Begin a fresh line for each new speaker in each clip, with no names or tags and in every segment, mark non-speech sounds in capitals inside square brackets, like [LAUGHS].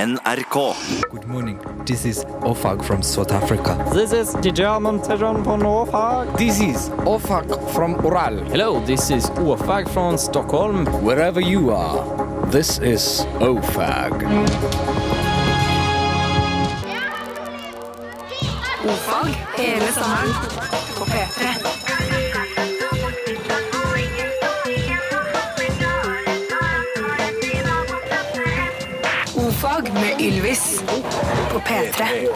NRK.
Good morning. This is Ofag from South Africa.
This is the German Tejan von Norfolk.
This is Ofag from Ural.
Hello, this is Åfag from Stockholm.
Wherever you are, this is OFAG.
Ofag hele sommeren på P3. Ofag med Ylvis på P3.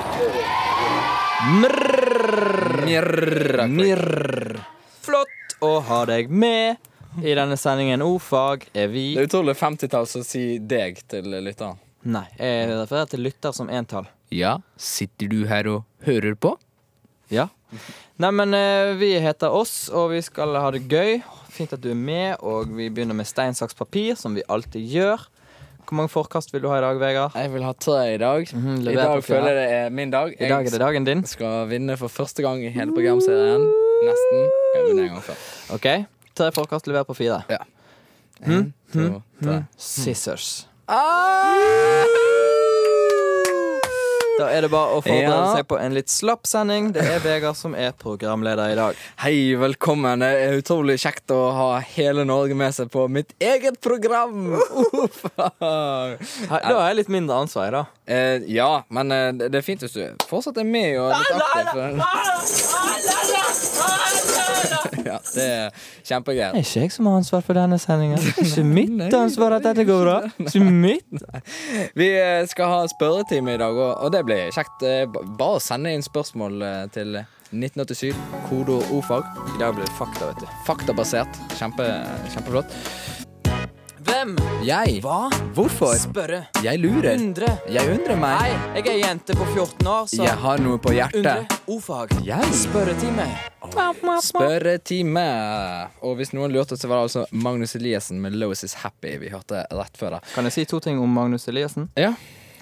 Mirrr. Mirrr.
Flott å ha deg med. I denne sendingen Ofag er vi
Det er utrolig 50-tall som sier deg til lytteren.
Nei, jeg refererer til lytter som entall.
Ja, sitter du her og hører på?
Ja. Neimen, eh, vi heter oss, og vi skal ha det gøy. Fint at du er med, og vi begynner med stein, saks, papir, som vi alltid gjør. Hvor mange forkast vil du ha i dag, Vegard?
Jeg vil ha tre i dag.
Mhm,
I
lever
dag
på fire.
føler jeg det er min dag.
I dag er det dagen din.
Jeg skal vinne for første gang i hele programserien. Nesten. Jeg har vunnet en gang før.
OK? Tre forkast levert på fire.
Hm?
En, to, tre.
Scissors.
Hm?
Da er det bare å forberede
Ja.
seg på en litt slapp sending. Det er Vegard som er programleder i dag.
Hei, velkommen. Det er utrolig kjekt å ha hele Norge med seg på mitt eget program! Uffa.
Her- Da har jeg litt mindre ansvar, da.
[LAUGHS] Eh, ja, men eh, det- det er fint hvis du fortsatt er med og er litt aktiv. ja, det er kjempegreier.
Det er ikke jeg som har ansvar for denne sendingen. Det er ikke mitt ansvar at dette går bra. Ikke mitt.
Vi eh, skal ha spørretime i dag, og og det blir kjekt. Eh, ba- Bare å sende inn spørsmål eh, til 1987, kodeord ordfag.
I dag blir det fakta, vet du.
Faktabasert. Kjempe, kjempeflott.
Hvem?
Jeg
Hva? Mm,
Hvorfor?
Spørre.
Jeg lurer.
Undre.
Jeg undrer meg.
Nei, jeg er jente på 14 år, så
Jeg har noe på
Undre.
hjertet.
Ordfag.
Jeg
Spørretime.
Spørretime. Og hvis noen lurte, så var det altså Magnus Eliassen med 'Lois Is Happy' vi hørte rett før det.
Kan jeg si to ting om Magnus Eliassen?
Ja.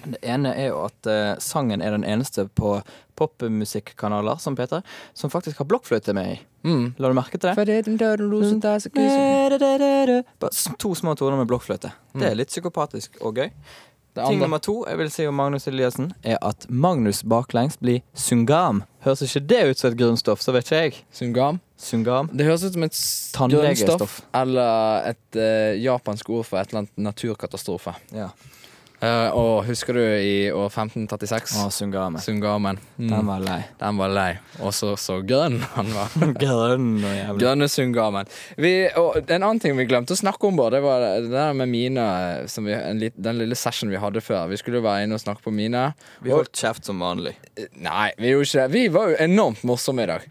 Det ene er jo at eh, sangen er den eneste på popmusikkanaler som Peter, som faktisk har blokkfløyte med i.
Mm.
La du merke til det? Mm. Bare s- to små toner med blokkfløyte. Det er litt psykopatisk og gøy.
Det
Ting
andre
nummer to jeg vil si om Magnus Eliassen, er at Magnus baklengs blir sungam. Høres ikke det ut som et grunnstoff, så vet ikke jeg.
Sungam.
Sungam.
Det høres ut som et
Tannlegestoff.
grønnstoff eller et eh, japansk ord for et eller annet naturkatastrofe.
Ja.
Eh, og husker du i år 1536?
Å, sungame.
Sungamen. Mm.
Den var lei.
Den var lei. Og så så grønn han var.
[LAUGHS] Grønn og jævlig.
Grønne Sungamen. Vi, og en annen ting vi glemte å snakke om, Bård, det var det der med Mina. Som vi, en lit, den lille session vi hadde før. Vi skulle jo være inne og snakke på Mina.
Vi holdt kjeft som vanlig.
Nei, vi gjorde ikke det. Vi var jo enormt morsomme i dag.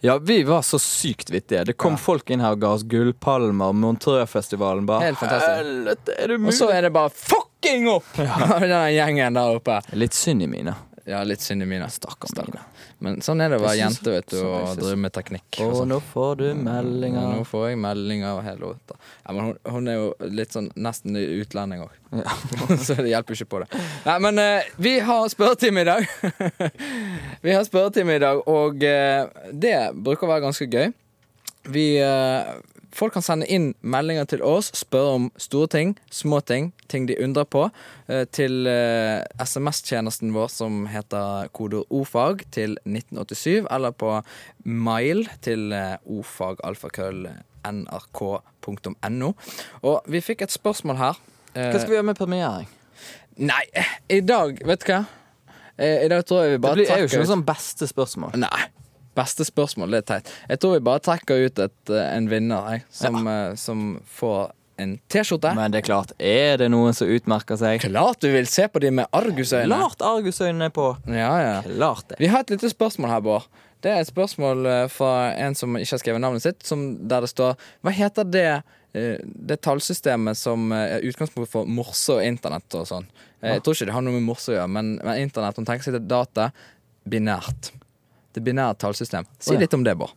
Ja, vi var så sykt vittige. Det kom folk inn her og ga oss gullpalmer. Montreux-festivalen bare
Helt fantastisk.
Helvete, er det
Og så
mulig?
er det bare fucking opp! [LAUGHS] den gjengen der oppe.
Litt synd i mine.
Ja, litt synd i Mina. Stakkars
Stakkars.
Mina. Men sånn er det å være
Jeg synes-
jente vet du,
sånn, jeg
og
synes-
drive med teknikk.
Og
Og sånn.
nå får du
Ja,
meldinger.
nå får jeg melding av hele låta. Ja, men hun, hun er jo litt sånn nesten utlending òg, [LAUGHS] så det hjelper ikke på det. Nei, men eh, vi har spørretime i dag. [LAUGHS] vi har spørretime i dag, og eh, det bruker å være ganske gøy. Vi eh, Folk kan sende inn meldinger til oss, spørre om store ting, små ting, ting de undrer på, eh, til eh, SMS-tjenesten vår som heter kodeord ofag til 1987, eller på mail til eh, ofagalfakrøll.nrk.no. Og vi fikk et spørsmål her. Eh,
Hva skal vi gjøre med premiering?
Nei, i dag, vet du hva? Eh, I dag tror jeg vi
Det
bare
blir, er jo
trekker
ikke noe
ut-
sånn beste spørsmål.
Nei. Beste spørsmål, det er teit. Jeg tror vi bare trekker ut et, eh, en vinner, jeg, som, eh, som får en T-skjorte.
Men det er klart, er det noen som utmerker seg?
Klart du vil se på de med argusøyne!
Klart argusøynene er på.
Ja, ja.
Klart det.
Vi har et lite spørsmål her, Bård. Det er et spørsmål eh, fra en som ikke har skrevet navnet sitt, som, der det står Hva heter det, eh, det tallsystemet som eh, er utgangspunkt for morse og internett og sånn? Eh,
Ah.
Jeg tror ikke det har noe med morse å gjøre, men, men internett hun tenker seg til data binært. Det binære tallsystem. Si
Å, ja.
litt om det, Bård.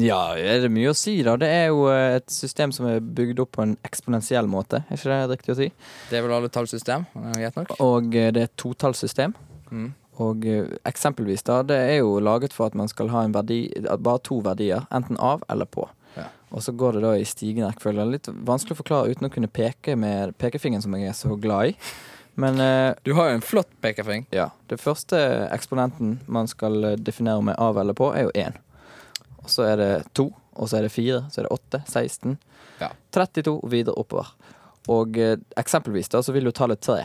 Ja, er det mye å si, da? Det er jo eh, et system som er bygd opp på en eksponentiell måte. Er ikke det riktig å si?
Det er vel alle tallsystem? eh, Greit nok?
Og eh, det er et totallsystem.
Mm.
Og eh, eksempelvis, da, det er jo laget for at man skal ha en verdi at bare to verdier. Enten av eller på.
Ja.
Og så går det da i stigende rekkefølge. Litt vanskelig å forklare uten å kunne peke med pekefingeren, som jeg er så glad i. Men eh,
Du har jo en flott pekefing.
ja, det første eksponenten man skal eh, definere om er av eller på, er jo én. Og så er det to, og så er det fire, så er det åtte, 16,
Ja.
32 og videre oppover. Og eh, eksempelvis da, så vil jo tallet tre.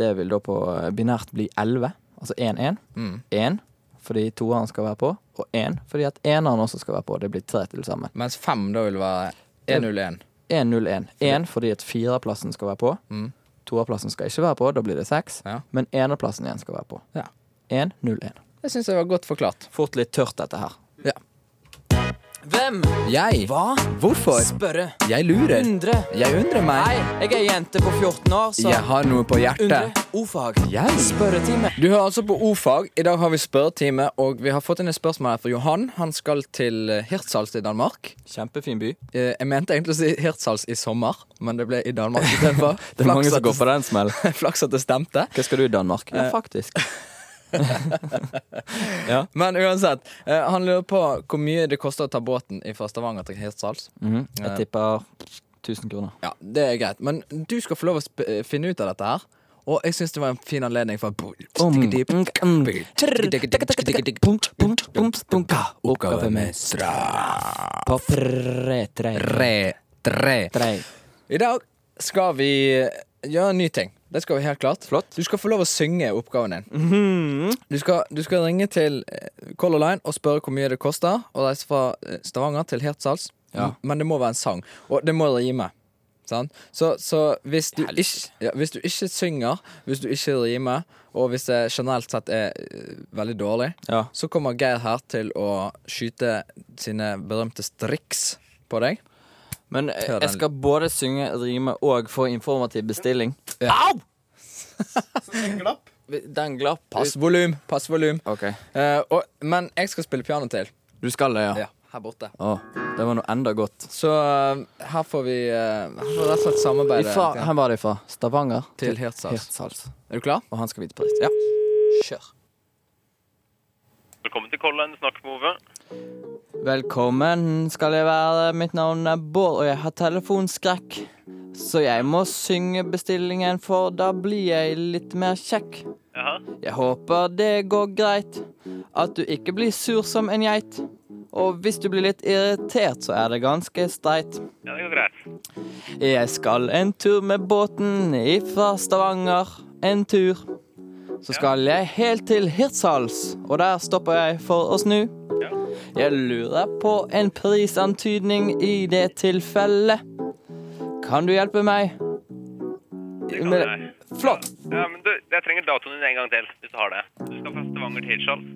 Det vil da på eh, binært bli 11, altså 1-1.
Mm.
1 fordi toeren skal være på, og 1 fordi at eneren også skal være på. Det blir tre til sammen.
Mens fem da vil være 101.
1-0-1. 1 fordi at fireplassen skal være på.
Mm.
Toerplassen skal ikke være på, da blir det seks.
Ja.
Men enerplassen igjen skal være på.
Ja.
1-0-1.
Det syns jeg var godt forklart.
Fort litt tørt, dette her.
Ja.
Hvem?
Jeg
Hva?
Hvorfor?
Spørre.
Jeg lurer.
Undre.
Jeg undrer
Nei,
meg.
jeg er jente på 14 år, så
Jeg har noe på
Undre.
hjertet.
Ordfag.
Jeg?
Spørretime.
Du hører altså på O-fag. I dag har vi spørretime, og vi har fått inn et spørsmål her fra Johan. Han skal til eh, Hirtshals i Danmark.
Kjempefin by.
Eh, Jeg mente egentlig å si Hirtshals i sommer, men det ble i Danmark
[LAUGHS]
istedenfor. Flaks at det-
den smell.
[LAUGHS]
Eh.
Flaks at det stemte.
[LAUGHS] Hva skal du i Danmark? Ja, faktisk.
Men uansett, eh, han lurer på hvor mye det koster å ta båten fra Stavanger til Hirtshals.
Mhm.
Ja.
Jeg tipper 1000 kroner.
Ja, det er greit, men du skal få lov å sp eh, finne ut av dette her. Og jeg syns det var en fin anledning for
Oppgave med
straff.
På tre, tre,
Tre, tre.
tre.
I dag skal vi eh, gjøre en ny ting. Det skal vi helt klart. Du skal få lov å synge oppgaven din.
Hmm.
du, skal, du skal ringe til eh, Color Line og spørre hvor mye det koster å reise fra eh, Stavanger til Hirtshals.
Ja.
M- Men det må være en sang, og det må rime. Sant? Så, så hvis, du ikke, ja, hvis du ikke synger, hvis du ikke rimer, og hvis det generelt sett er eh, veldig dårlig,
Ja.
så kommer Geir her til å skyte sine berømte striks på deg.
Men
Hør
eh,
den.
jeg skal både synge, rime og få informativ bestilling. Au! Den glapp.
Pass Eh, volum! Pass volum.
OK.
Eh, og, men jeg skal spille piano til.
Du skal det,
Ja,
ja?
her borte.
Å, det var noe enda godt.
Så eh, her får vi eh, Her får vi rett og slett samarbeide
Ifra, her var det ifra. Stavanger
til Hirtshals.
Hirtshals.
Er du klar?
Og han skal vite pris. Ja. Kjør.
Velkommen til Color Line, snakk med Ove.
Velkommen skal jeg være. Mitt navn er Bård, og jeg har telefonskrekk. Så jeg må synge bestillingen, for da blir jeg litt mer kjekk.
Jaha.
Jeg håper det går greit, at du ikke blir sur som en geit. Og hvis du blir litt irritert, så er det ganske streit.
Ja, det går greit.
Jeg skal en tur med båten ifra Stavanger, en tur. Så skal jeg helt til Hirtshals, og der stopper jeg for å snu.
Ja.
Jeg lurer på en prisantydning i det tilfellet. Kan du hjelpe meg?
Det kan
Men-
jeg.
Flott!
Ja, men du, jeg trenger datoen din en gang til, hvis du har det. Du skal fra Stavanger til Hirtshals.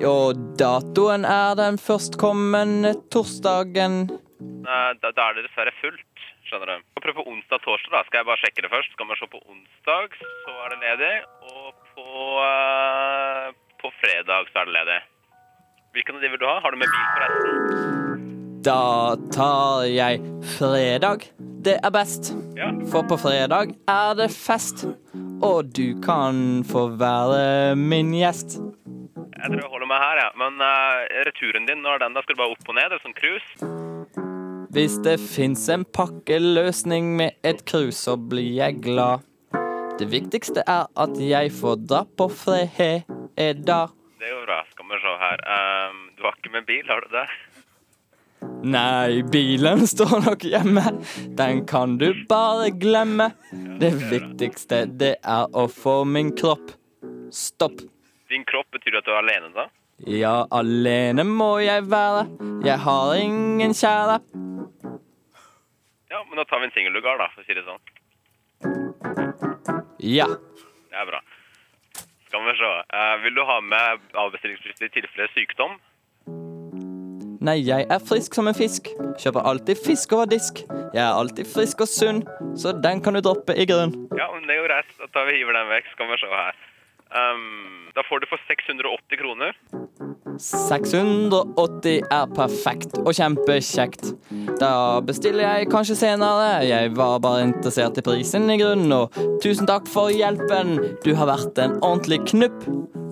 Og datoen er den førstkommende torsdagen.
Nei, da, da er det dessverre fullt, skjønner du. Prøv på onsdag torsdag, da. Skal jeg bare sjekke det først? Skal man se på onsdag, så er det ledig. Og på, eh, på fredag så er det ledig. Hvilken av de vil du ha? Har du med bil forresten?
Da tar jeg fredag. Det er best.
Ja.
For på fredag er det fest, og du kan få være min gjest.
Jeg tror jeg holder meg her, ja. Men eh, returen din, når er den da? Skal du bare opp og ned? Eller sånn cruise?
Hvis det fins en pakkeløsning med et krus, så blir jeg glad. Det viktigste er at jeg får dra på fredag.
Det går bra. Skal vi se her. Eh, du har ikke med bil, har du det?
Nei, bilen står nok hjemme. Den kan du bare glemme. Det viktigste, det er å få min kropp. Stopp.
Din kropp betyr at du er alene, da?
Ja, alene må jeg være. Jeg har ingen kjære.
Ja, men da tar vi en singellugar, da, for å si det sånn.
Ja.
Det er bra. Skal vi se. Eh, vil du ha med avbestillingsfrist i tilfelle sykdom?
Nei, jeg er frisk som en fisk. Kjøper alltid fisk over disk. Jeg er alltid frisk og sunn, så den kan du droppe i grunn.
Ja, men det er jo greit. Da tar vi hiver den vekk. Skal vi se her. Ehm, da får du for 680 kroner.
680 er perfekt og kjempekjekt. Da bestiller jeg kanskje senere. Jeg var bare interessert i prisen i grunnen, og tusen takk for hjelpen. Du har vært en ordentlig knupp.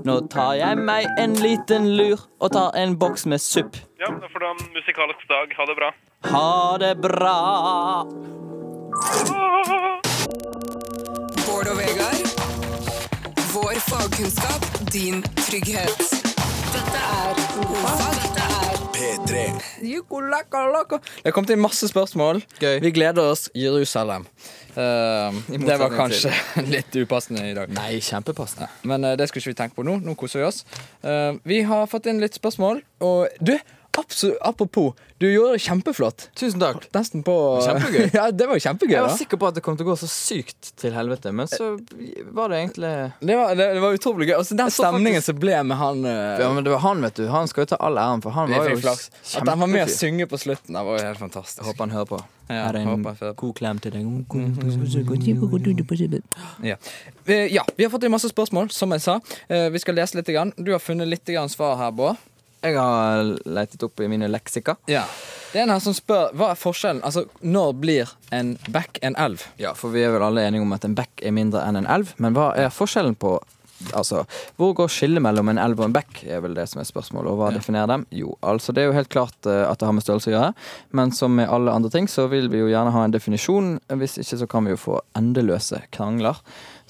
Nå tar jeg meg en liten lur og tar en boks med supp.
Ja, da får du ha en musikalsk dag. Ha det bra.
Ha det bra.
Bård og Vegard
Vår fagkunnskap, din trygghet. Dette er Ofag. Dette er
Yukulaka-laka. Det har kommet inn masse spørsmål.
Gøy.
Vi gleder oss Jerusalem. Eh, [LAUGHS] det var kanskje [LAUGHS] litt upassende i dag.
Nei, kjempepassende.
Men eh, det skulle ikke vi tenke på nå. Nå koser vi oss. Eh, vi har fått inn litt spørsmål, og du abso- Apropos, du gjorde det kjempeflott.
Tusen takk.
Nesten på
Kjempegøy.
[LAUGHS] ja, det var jo kjempegøy.
Jeg
da.
var sikker på at det kom til å gå så sykt til helvete, men så var det egentlig
Det var, det, det var utrolig gøy. Altså, den
så
stemningen
faktisk-
som ble med han eh,
Ja, men det var han, vet du. Han skal jo ta all æren, for han
Vi
var jo
fikk flaks.
kjempefyr.
At han var med å synge på slutten, det var jo helt fantastisk.
Håper han hører på.
Ja,
Her er en
håper jeg får.
god klem til deg.
Ja. Eh, ja, Vi har fått inn masse spørsmål, som jeg sa. Eh, vi skal lese litt. Grann. Du har funnet litt grann svar her, Bård.
Jeg har letet opp i mine leksika.
Ja. Det er en her som spør hva er forskjellen Altså, når blir en bekk en elv?
Ja, for vi er vel alle enige om at en bekk er mindre enn en elv, men hva er forskjellen på Altså, Hvor går skillet mellom en elv og en bekk, er vel det som er spørsmålet. Og hva definerer dem? Jo, altså Det er jo helt klart eh, at det har med størrelse å gjøre, men som med alle andre ting så vil vi jo gjerne ha en definisjon. Hvis ikke så kan vi jo få endeløse krangler,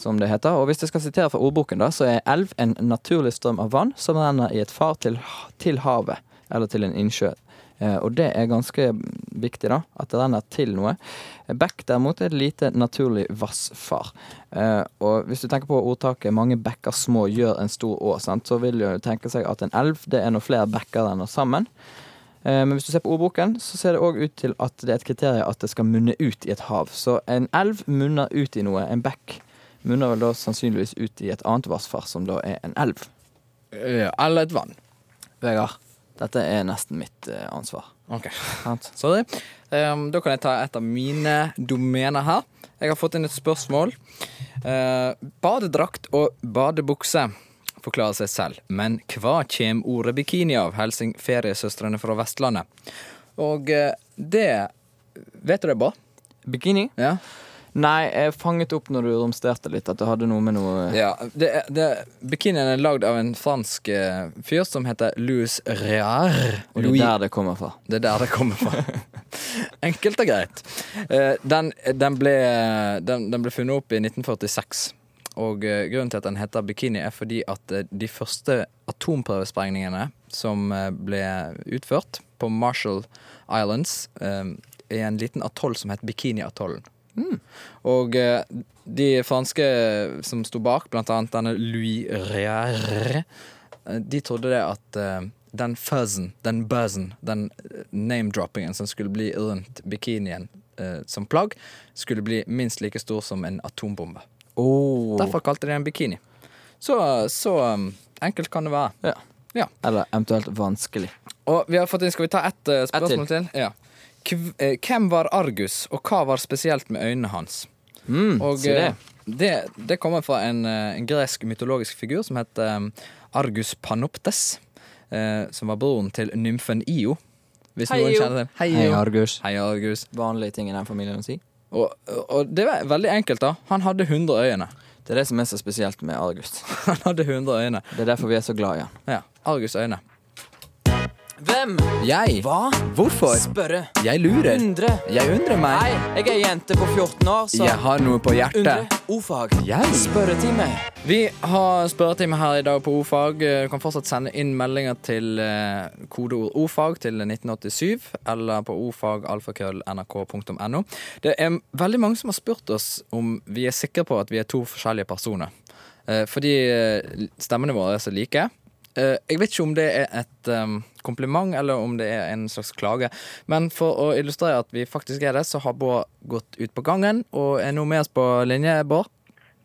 som det heter. Og hvis jeg skal sitere fra ordboken, da, så er elv en naturlig strøm av vann som renner i et far til, til havet eller til en innsjø. Eh, Og det er ganske viktig, da. At det renner til noe. Bekk derimot er et lite naturlig vassfar. Eh, Og hvis du tenker på ordtaket 'mange bekker små gjør en stor å', sant? så vil du tenke seg at en elv det er når flere bekker renner sammen. Eh, Men hvis du ser på ordboken, så ser det òg ut til at det er et kriterium at det skal munne ut i et hav. Så en elv munner ut i noe. En bekk munner vel da sannsynligvis ut i et annet vassfar, som da er en elv.
Ja, Eh, eller et vann.
Vegard, dette er nesten mitt eh, ansvar.
Ok,
Sant?
Sorry. Ehm, da kan jeg ta et av mine domener her. Jeg har fått inn et spørsmål. Eh, badedrakt og badebukse forklarer seg selv, men hva kjem ordet bikini av? Helsing feriesøstrene fra Vestlandet. Og eh, det Vet du det, Bård?
Bikini?
Ja.
Nei, jeg fanget opp når du romsterte litt at det hadde noe med noe
Ja, det, er- det, er- Bikinien er lagd av en fransk eh, fyr som heter Louis Reard.
Og det er der det kommer fra.
Det er der det kommer fra. Enkelt og greit. Eh, Den, den, ble, den, den ble funnet opp i 1946. Og eh, grunnen til at den heter bikini, er fordi at eh, de første atomprøvesprengningene som eh, ble utført på Marshall Islands, eh, i en liten atoll som het Bikini-atollen. Og eh, de franske som sto bak, blant annet denne Louis Réard, eh, de trodde det at eh, den fuzzen, den buzzen, den eh, name-droppingen som skulle bli rundt bikinien eh, som plagg, skulle bli minst like stor som en atombombe. Derfor kalte de den bikini. Så, så um, enkelt kan det være.
Ja.
Ja.
Eller eventuelt vanskelig.
Og vi har fått inn, skal vi ta ett eh, spørsmål
til.
til? Ja. Kv- eh, Hvem var Argus, og hva var spesielt med øynene hans? og
si det.
eh, det, det kommer fra en, eh, en gresk mytologisk figur som het eh, Argus Panoptes. eh, Som var broren til nymfen Io. Hvis noen kjenner den. Hei, Io.
Argus.
Hei, Argus.
Vanlige ting i den familien å si.
Og, og det var veldig enkelt, da. Han hadde 100 øyne. [LAUGHS]
Det er det som er så spesielt med Argus.
Han hadde 100 øyne.
Det er derfor vi er så glad i han.
Ja, Argus øyne.
Hvem?
Jeg?
Hva?
Hvorfor?
Spørre.
Jeg lurer.
Undre.
Jeg undrer meg.
Nei, jeg er jente på 14 år, så
Jeg har noe på
Undre.
hjertet.
Ordfag.
Jeg?
Spørretime.
Vi har spørretime her i dag på ordfag. Du kan fortsatt sende inn meldinger til eh, kodeord ordfag til 1987 eller på ordfagalfakrøll.nrk.no. Det er veldig mange som har spurt oss om vi er sikre på at vi er to forskjellige personer. Eh, fordi eh, stemmene våre er så like. Eh, jeg vet ikke om det er et eh, kompliment eller om det er en slags klage, men for å illustrere at vi faktisk er det, så har Bård gått ut på gangen og er nå med oss på linje, Bård.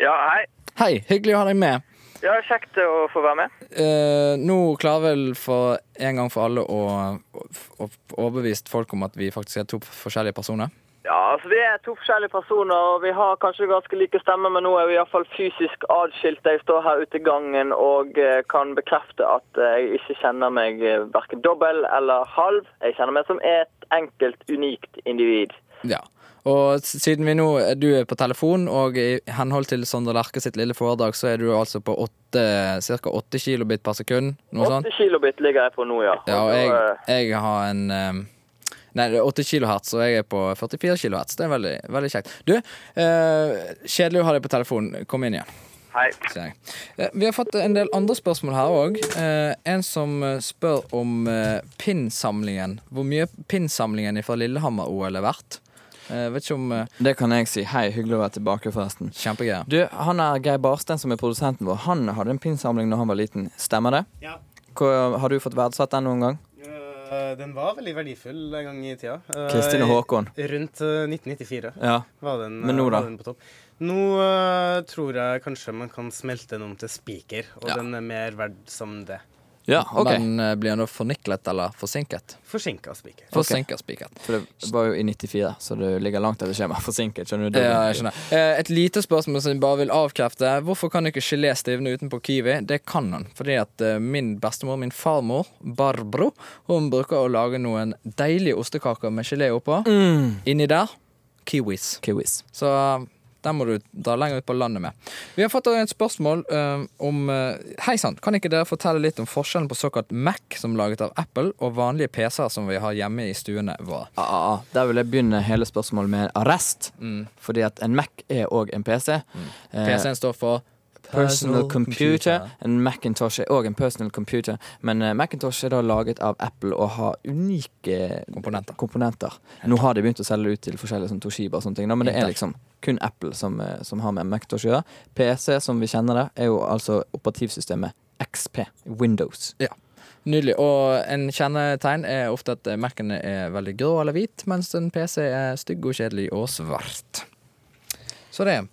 Ja, hei.
Hei, hyggelig å ha deg med.
Ja, kjekt å få være med.
Eh, nå klarer vel for en gang for alle å, å, å overbevist folk om at vi faktisk er to forskjellige personer.
Ja, altså Vi er to forskjellige personer, og vi har kanskje ganske like stemmer, men nå er vi iallfall fysisk atskilte. Jeg står her ute i gangen og eh, kan bekrefte at eh, jeg ikke kjenner meg eh, verken dobbel eller halv. Jeg kjenner meg som et enkelt, unikt individ.
Ja. Og s- siden vi nå du er på telefon, og i henhold til Sondre Lerche sitt lille foredrag, så er du altså på ca. 8 kilobit per sekund. Noe sånt.
Åtte kilobit ligger jeg på nå, ja.
Ja,
Og
og
så,
jeg,
eh,
jeg har en eh, Nei, det er 8 kilohertz, og jeg er på 44 kilohertz. Det er veldig, veldig kjekt. Du, eh, kjedelig å ha deg på telefon. Kom inn igjen.
Hei.
sier jeg. Eh, Vi har fått en del andre spørsmål her òg. En som eh, spør om eh, pinnsamlingen. Hvor mye pinnsamlingen fra Lillehammer-OL er verdt. Eh, Vet ikke om eh,
Det kan jeg si. Hei, hyggelig å være tilbake, forresten.
Kjempegreier.
Du, han er Geir Barsten, som er produsenten vår. Han hadde en pinnsamling når han var liten. Stemmer det?
Ja.
Hvor, har du fått verdsatt den noen gang?
Eh, Den var veldig verdifull en gang i tida. Eh,
Kristin og Håkon.
Rundt eh, 1994
Ja.
var den,
Men nå
eh,
da?
var den på topp. Nå eh, tror jeg kanskje man kan smelte den om til spiker, og
Ja.
den er mer verd som det.
ja, OK.
Men eh, blir han da forniklet eller forsinket?
Forsinka spiker.
Forsinket spiket.
For det var jo i 94, så du ligger langt over skjemaet. Forsinket, skjønner du.
Ja, jeg skjønner. Eh, Et lite spørsmål som jeg bare vil avkrefte. Hvorfor kan ikke gelé stivne utenpå kiwi? Det kan han. Fordi at eh, min bestemor, min farmor, Barbro, hun bruker å lage noen deilige ostekaker med gelé oppå.
Mm.
Inni der kiwis.
Kiwis.
Så der må du dra lenger ut på landet med. Vi har fått et spørsmål eh, om eh, Hei sann, kan ikke dere fortelle litt om forskjellen på såkalt Mac, som er laget av Apple, og vanlige PC-er som vi har hjemme i stuene våre?
Ah, ah, ah. Der vil jeg begynne hele spørsmålet med en arrest.
Mm.
Fordi at en Mac er òg en PC. Eh,
PC-en står for
Personal computer. En Macintosh er òg en personal computer, men eh, Macintosh er da laget av Apple og har unike
Komponenter.
komponenter. Nå har de begynt å selge det ut til forskjellige sånn Toshiba og sånne ting, da, men det er liksom kun Apple som, eh, som har med Macintosh å gjøre. PC, som vi kjenner det, er jo altså operativsystemet XP, Windows.
Nydelig. Og en kjennetegn er ofte at Mac-en er veldig grå eller hvit, mens en PC er stygg og kjedelig og svart. Så det.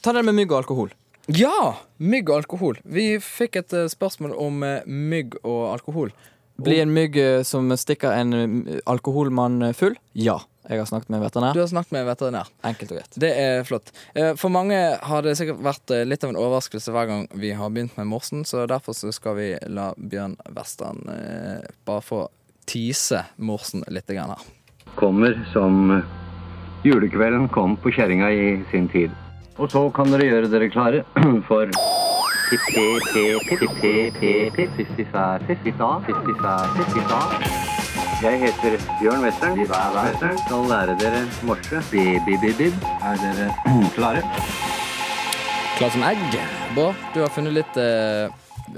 Ta det med mygg og alkohol.
Ja! Mygg og alkohol. Vi fikk et eh, spørsmål om eh, mygg og alkohol.
Blir en mygg eh, som stikker en eh, alkoholmann eh, full? Ja. Jeg har snakket med en
Du
veterinær.
har snakket med en veterinær.
Enkelt og greit.
Det er flott. Eh, For mange har det sikkert vært eh, litt av en overraskelse hver gang vi har begynt med Morsen, så derfor så skal vi la Bjørn Western eh, bare få tease Morsen litt grann her.
kommer som eh, julekvelden kom på kjerringa i sin tid. Og så kan dere gjøre dere klare [CLEARS THROAT] for jeg heter Bjørn Western. Western. Skal lære dere morse. Bi-bi-bi-bib. Er dere klare?
Klar som egg. Bra. Du har funnet litt eh,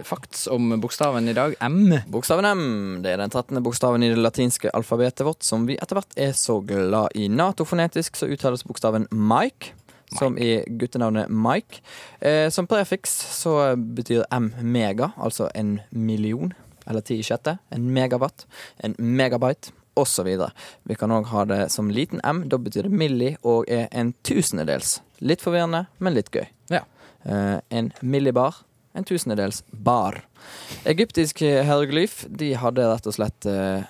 fakts om bokstaven i dag. M.
Bokstaven M det er den 13. bokstaven i det latinske alfabetet vårt, som vi etter hvert er så glad i. Natofonetisk så uttales bokstaven Mike, som i guttenavnet Mike. Eh, som prefiks så betyr M mega, altså en million, eller ti i sjette. En megawatt, en megabyte, osv. Vi kan òg ha det som liten m, da betyr det milli og er en tusendedels. Litt forvirrende, men litt gøy.
Ja.
Eh, en millibar, en tusendedels bar. Egyptisk eh, hieroglyf De hadde rett og slett eh,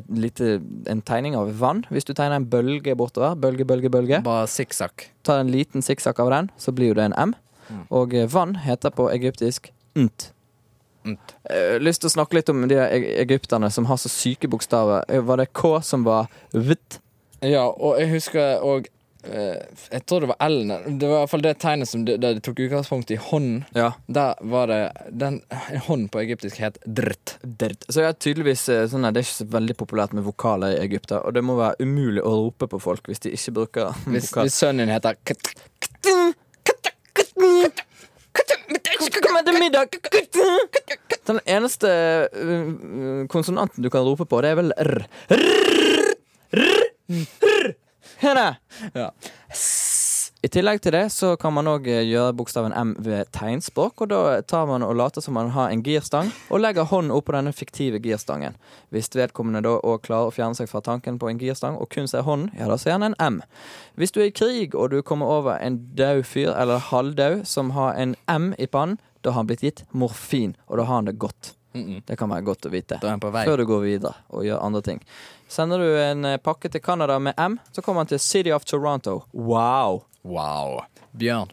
et lite, en tegning av vann. Hvis du tegner en bølge bortover, bølge, bølge, bølge,
Bare sikksakk.
tar en liten sikksakk av den, så blir jo det en M. Og eh, vann heter på egyptisk nt.
Nt.
Eh, lyst til å snakke litt om de e- egypterne som har så syke bokstaver. Eh, Var det K som var vt?
Ja, og jeg husker òg Jeg tror det var L-en. Det var i hvert fall det tegnet som de, der de tok utgangspunkt i hånden.
Ja.
Der var det Den hånden på egyptisk het dritt.
Dert. Så jeg er tydeligvis eh, sånn at Det er ikke så veldig populært med vokaler i Egypt. da, Og det må være umulig å rope på folk hvis de ikke bruker [LAUGHS]
Hvis,
vokal.
hvis sønnen din heter kt,
Kommer til middag Den eneste eh, konsonanten du kan rope på, det er vel r. R, r, r. Her er det.
Ja.
S. I tillegg til det så kan man òg gjøre bokstaven M ved tegnspråk. Og da tar man og later som man har en girstang, og legger hånden oppå denne fiktive girstangen. Hvis vedkommende da òg klarer å fjerne seg fra tanken på en girstang og kun ser hånden, ja, da ser han en M. Hvis du er i krig og du kommer over en død fyr, eller halvdød, som har en M i pannen, da har han blitt gitt morfin, og da har han det godt. Det kan være godt å vite.
Da er han på vei.
Før du går videre og gjør andre ting. Sender du en eh, pakke til Canada med M, så kommer han til City of Toronto. Wow!
Wow. Bjørn.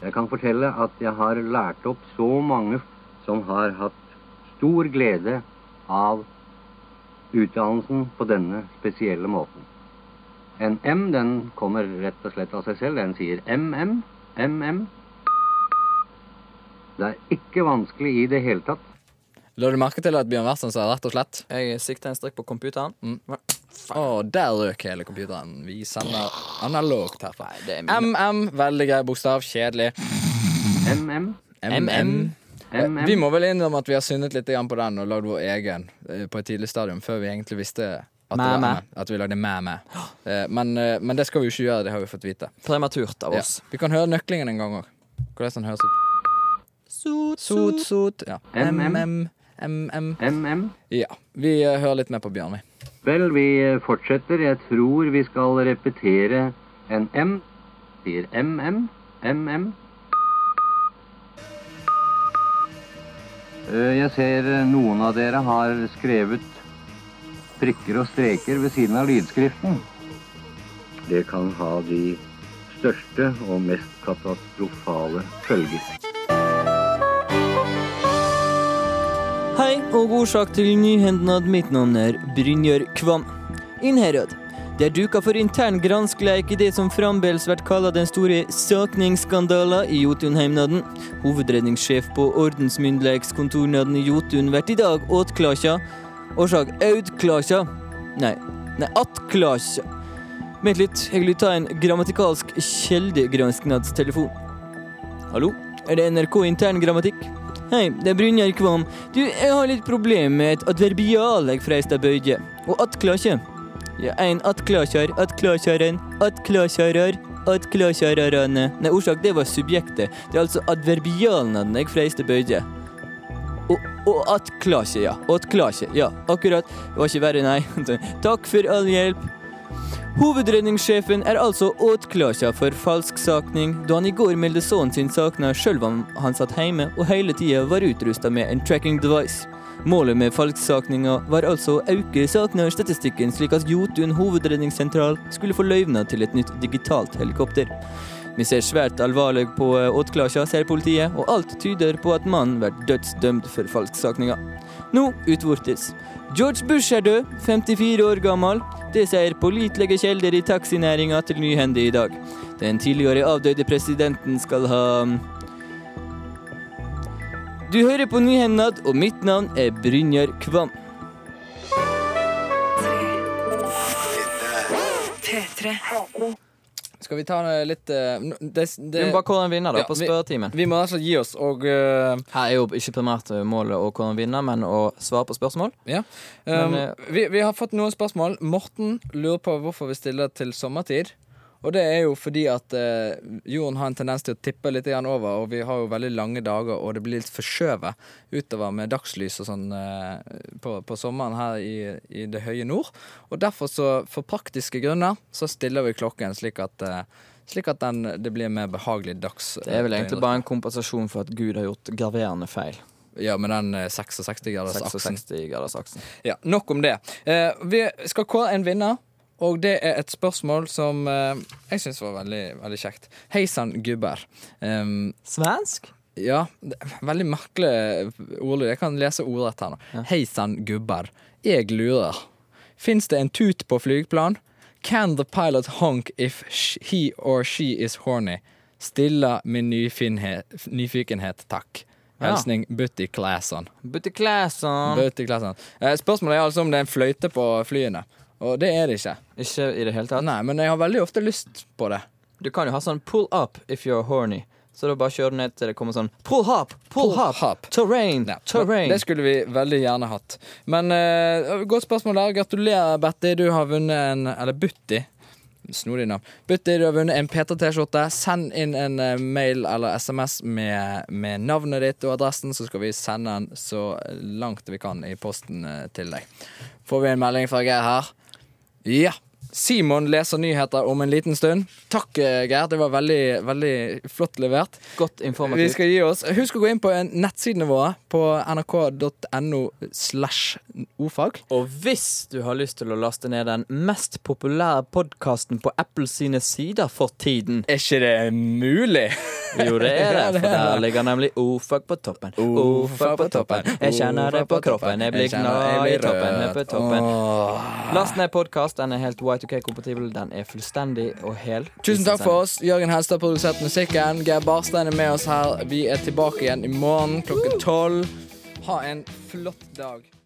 Jeg kan fortelle at jeg har lært opp så mange som har hatt stor glede av utdannelsen på denne spesielle måten. En M, den kommer rett og slett av seg selv. Den sier MM, MM. Det er ikke vanskelig i det hele tatt.
La du merke til at Bjørn Western sa rett og slett?
Jeg sikter en strikk på computeren.
Å, der røk hele computeren. Vi sender analogt herfra.
Det er min.
MM, veldig grei bokstav. Kjedelig.
MM.
MM.
MM.
Vi må vel innrømme at vi har syndet litt grann på den og lagd vår egen eh, på et tidlig stadium, før vi egentlig visste at, det var
Mæ, mæ.
MM, at vi lagde mæ-mæ. Eh, Men, eh, men det skal vi jo ikke gjøre, det har vi fått vite.
Prematurt av
Ja.
oss.
Vi kan høre nøklingen en gang òg. Hvordan den høres ut.
Sot,
Sot, sot. Ja.
MM.
MM. MM.
MM.
Ja. Vi eh, hører litt mer på Bjørn, vi.
Vel, vi fortsetter. Jeg tror vi skal repetere en M. Sier MM. MM. Eh, Jeg ser eh, noen av dere har skrevet prikker og streker ved siden av lydskriften. Det kan ha de største og mest katastrofale følger.
Hei og årsak til nyhendene at mitt navn er Brynjar Kvam. Innherad. Det er duka for intern granskleik i det som fremdeles blir kalla den store sakningsskandalen i Jotunheimnaden. Hovedredningssjef på ordensmyndighetskontornaden i Jotun blir i dag åtklasja. Årsak autklasja. Nei, nei attklasja. Vent litt, jeg vil ta en grammatikalsk kjeldegransknadstelefon. Hallo, er det NRK intern grammatikk? Hei, det er Brynjar Kvam. Du, jeg har litt problem med et adverbial jeg freist av bøye. Og attklasje. Ja, en attklasjar, attklasjaren, attklasjarar, attklasjararane. Nei, orsak, det var subjektet. Det er altså adverbialene jeg freist av bøye. Og, og attklasje, ja. Attklasje, ja. Akkurat. Det var ikke verre, nei. [LAUGHS] Takk for all hjelp. Hovedredningssjefen er altså åtklasja for falsksakning, da han i går meldte sønnen sin sakna sjøl om han satt hjemme og hele tida var utrusta med en tracking device. Målet med falsksakninga var altså å øke saknarstatistikken, slik at Jotun hovedredningssentral skulle få løyvna til et nytt digitalt helikopter. Vi ser svært alvorlig på eh, åtklasja, ser politiet, og alt tyder på at mannen blir dødsdømt for falsksakninga. Nå utvortes. George Bush er død, 54 år gammel. Det sier pålitelige kjelder i taxinæringa til Nyhende i dag. Den tidligere avdøde presidenten skal ha Du hører på Nyhendad, og mitt navn er Brynjar Kvam.
P3.
Skal vi ta eh, litt eh, n- det,
Vi
det,
må bare kåre en vinner da,
Ja,
på
vi-
spørretimen.
Vi må altså gi oss, og eh,
Her er jo ikke primært målet å kåre en vinner, men å svare på spørsmål.
Ja.
Men,
Um,
eh,
vi, vi har fått noen spørsmål. Morten lurer på hvorfor vi stiller til sommertid. Og det er jo fordi at eh, jorden har en tendens til å tippe litt grann over, og vi har jo veldig lange dager, og det blir litt forskjøvet utover med dagslys og sånn eh, på, på sommeren her i, i det høye nord. Og derfor, så, for praktiske grunner, så stiller vi klokken slik at, eh, slik at den, det blir en mer behagelig dags...
Det er vel egentlig bare en kompensasjon for at Gud har gjort graverende feil.
Ja, med den eh, 66-gradersaksen.
66 graders aksen.
Ja, nok om det. Eh, vi skal kåre en vinner, og det er et spørsmål som eh, jeg syns var veldig, veldig kjekt. Hei sann, gubber. Em,
Svensk?
ja, det er veldig merkelig ordlyd. Jeg kan lese ordrett her nå. Hei sann, gubber. Jeg lurer. Fins det en tut på flygplan? Can the pilot honk if sh- he or she is horny? Stilla min nyfinhe- nyfikenhet, takk.
Ja.
Hilsning Butti Claesson.
Butte Claesson.
Bøte i klassen. Eh, Spørsmålet er altså om det er en fløyte på flyene. Og det er det ikke.
Ikke i det hele tatt.
Nei, men jeg har veldig ofte lyst på det.
Du kan jo ha sånn pull up if you're horny. Så da bare kjører du ned til det kommer sånn pull up, pull,
Pull
up,
up.
terrain,
Ja,
terrain.
Det skulle vi veldig gjerne hatt. Men eh, godt spørsmål der. Gratulerer, Betty. Du har vunnet en Eller Butti. Snodig navn. Butti, du har vunnet en P3T-skjorte. Send inn en eh, mail eller SMS med, med navnet ditt og adressen, så skal vi sende den så langt vi kan i posten eh, til deg. Får vi en melding fra Geir her? Ja. Simon leser nyheter om en liten stund. Takk, eh, Geir. Det var veldig, veldig flott levert.
Godt
Vi
informativt.
skal gi oss. Husk å gå inn på en- nettsidene våre på nrk.no slash ordfag.
Og hvis du har lyst til å laste ned den mest populære podkasten på Apple sine sider for tiden
Er ikke det mulig?
Jo, det er
[LAUGHS]
det,
Ja, det
for
er
der
det.
ligger nemlig Ofag på toppen.
O,
Ofag på toppen. Jeg kjenner det på kroppen. Jeg blir glad i toppen. Jeg på toppen. Last ned podkast. Den er helt Y2K-kompatibel. Den er fullstendig og hel.
Tusen takk for oss. Jørgen Helstad har produsert musikken. Geir Barstein er med oss her. Vi er tilbake igjen i morgen klokken tolv. Ha en flott dag.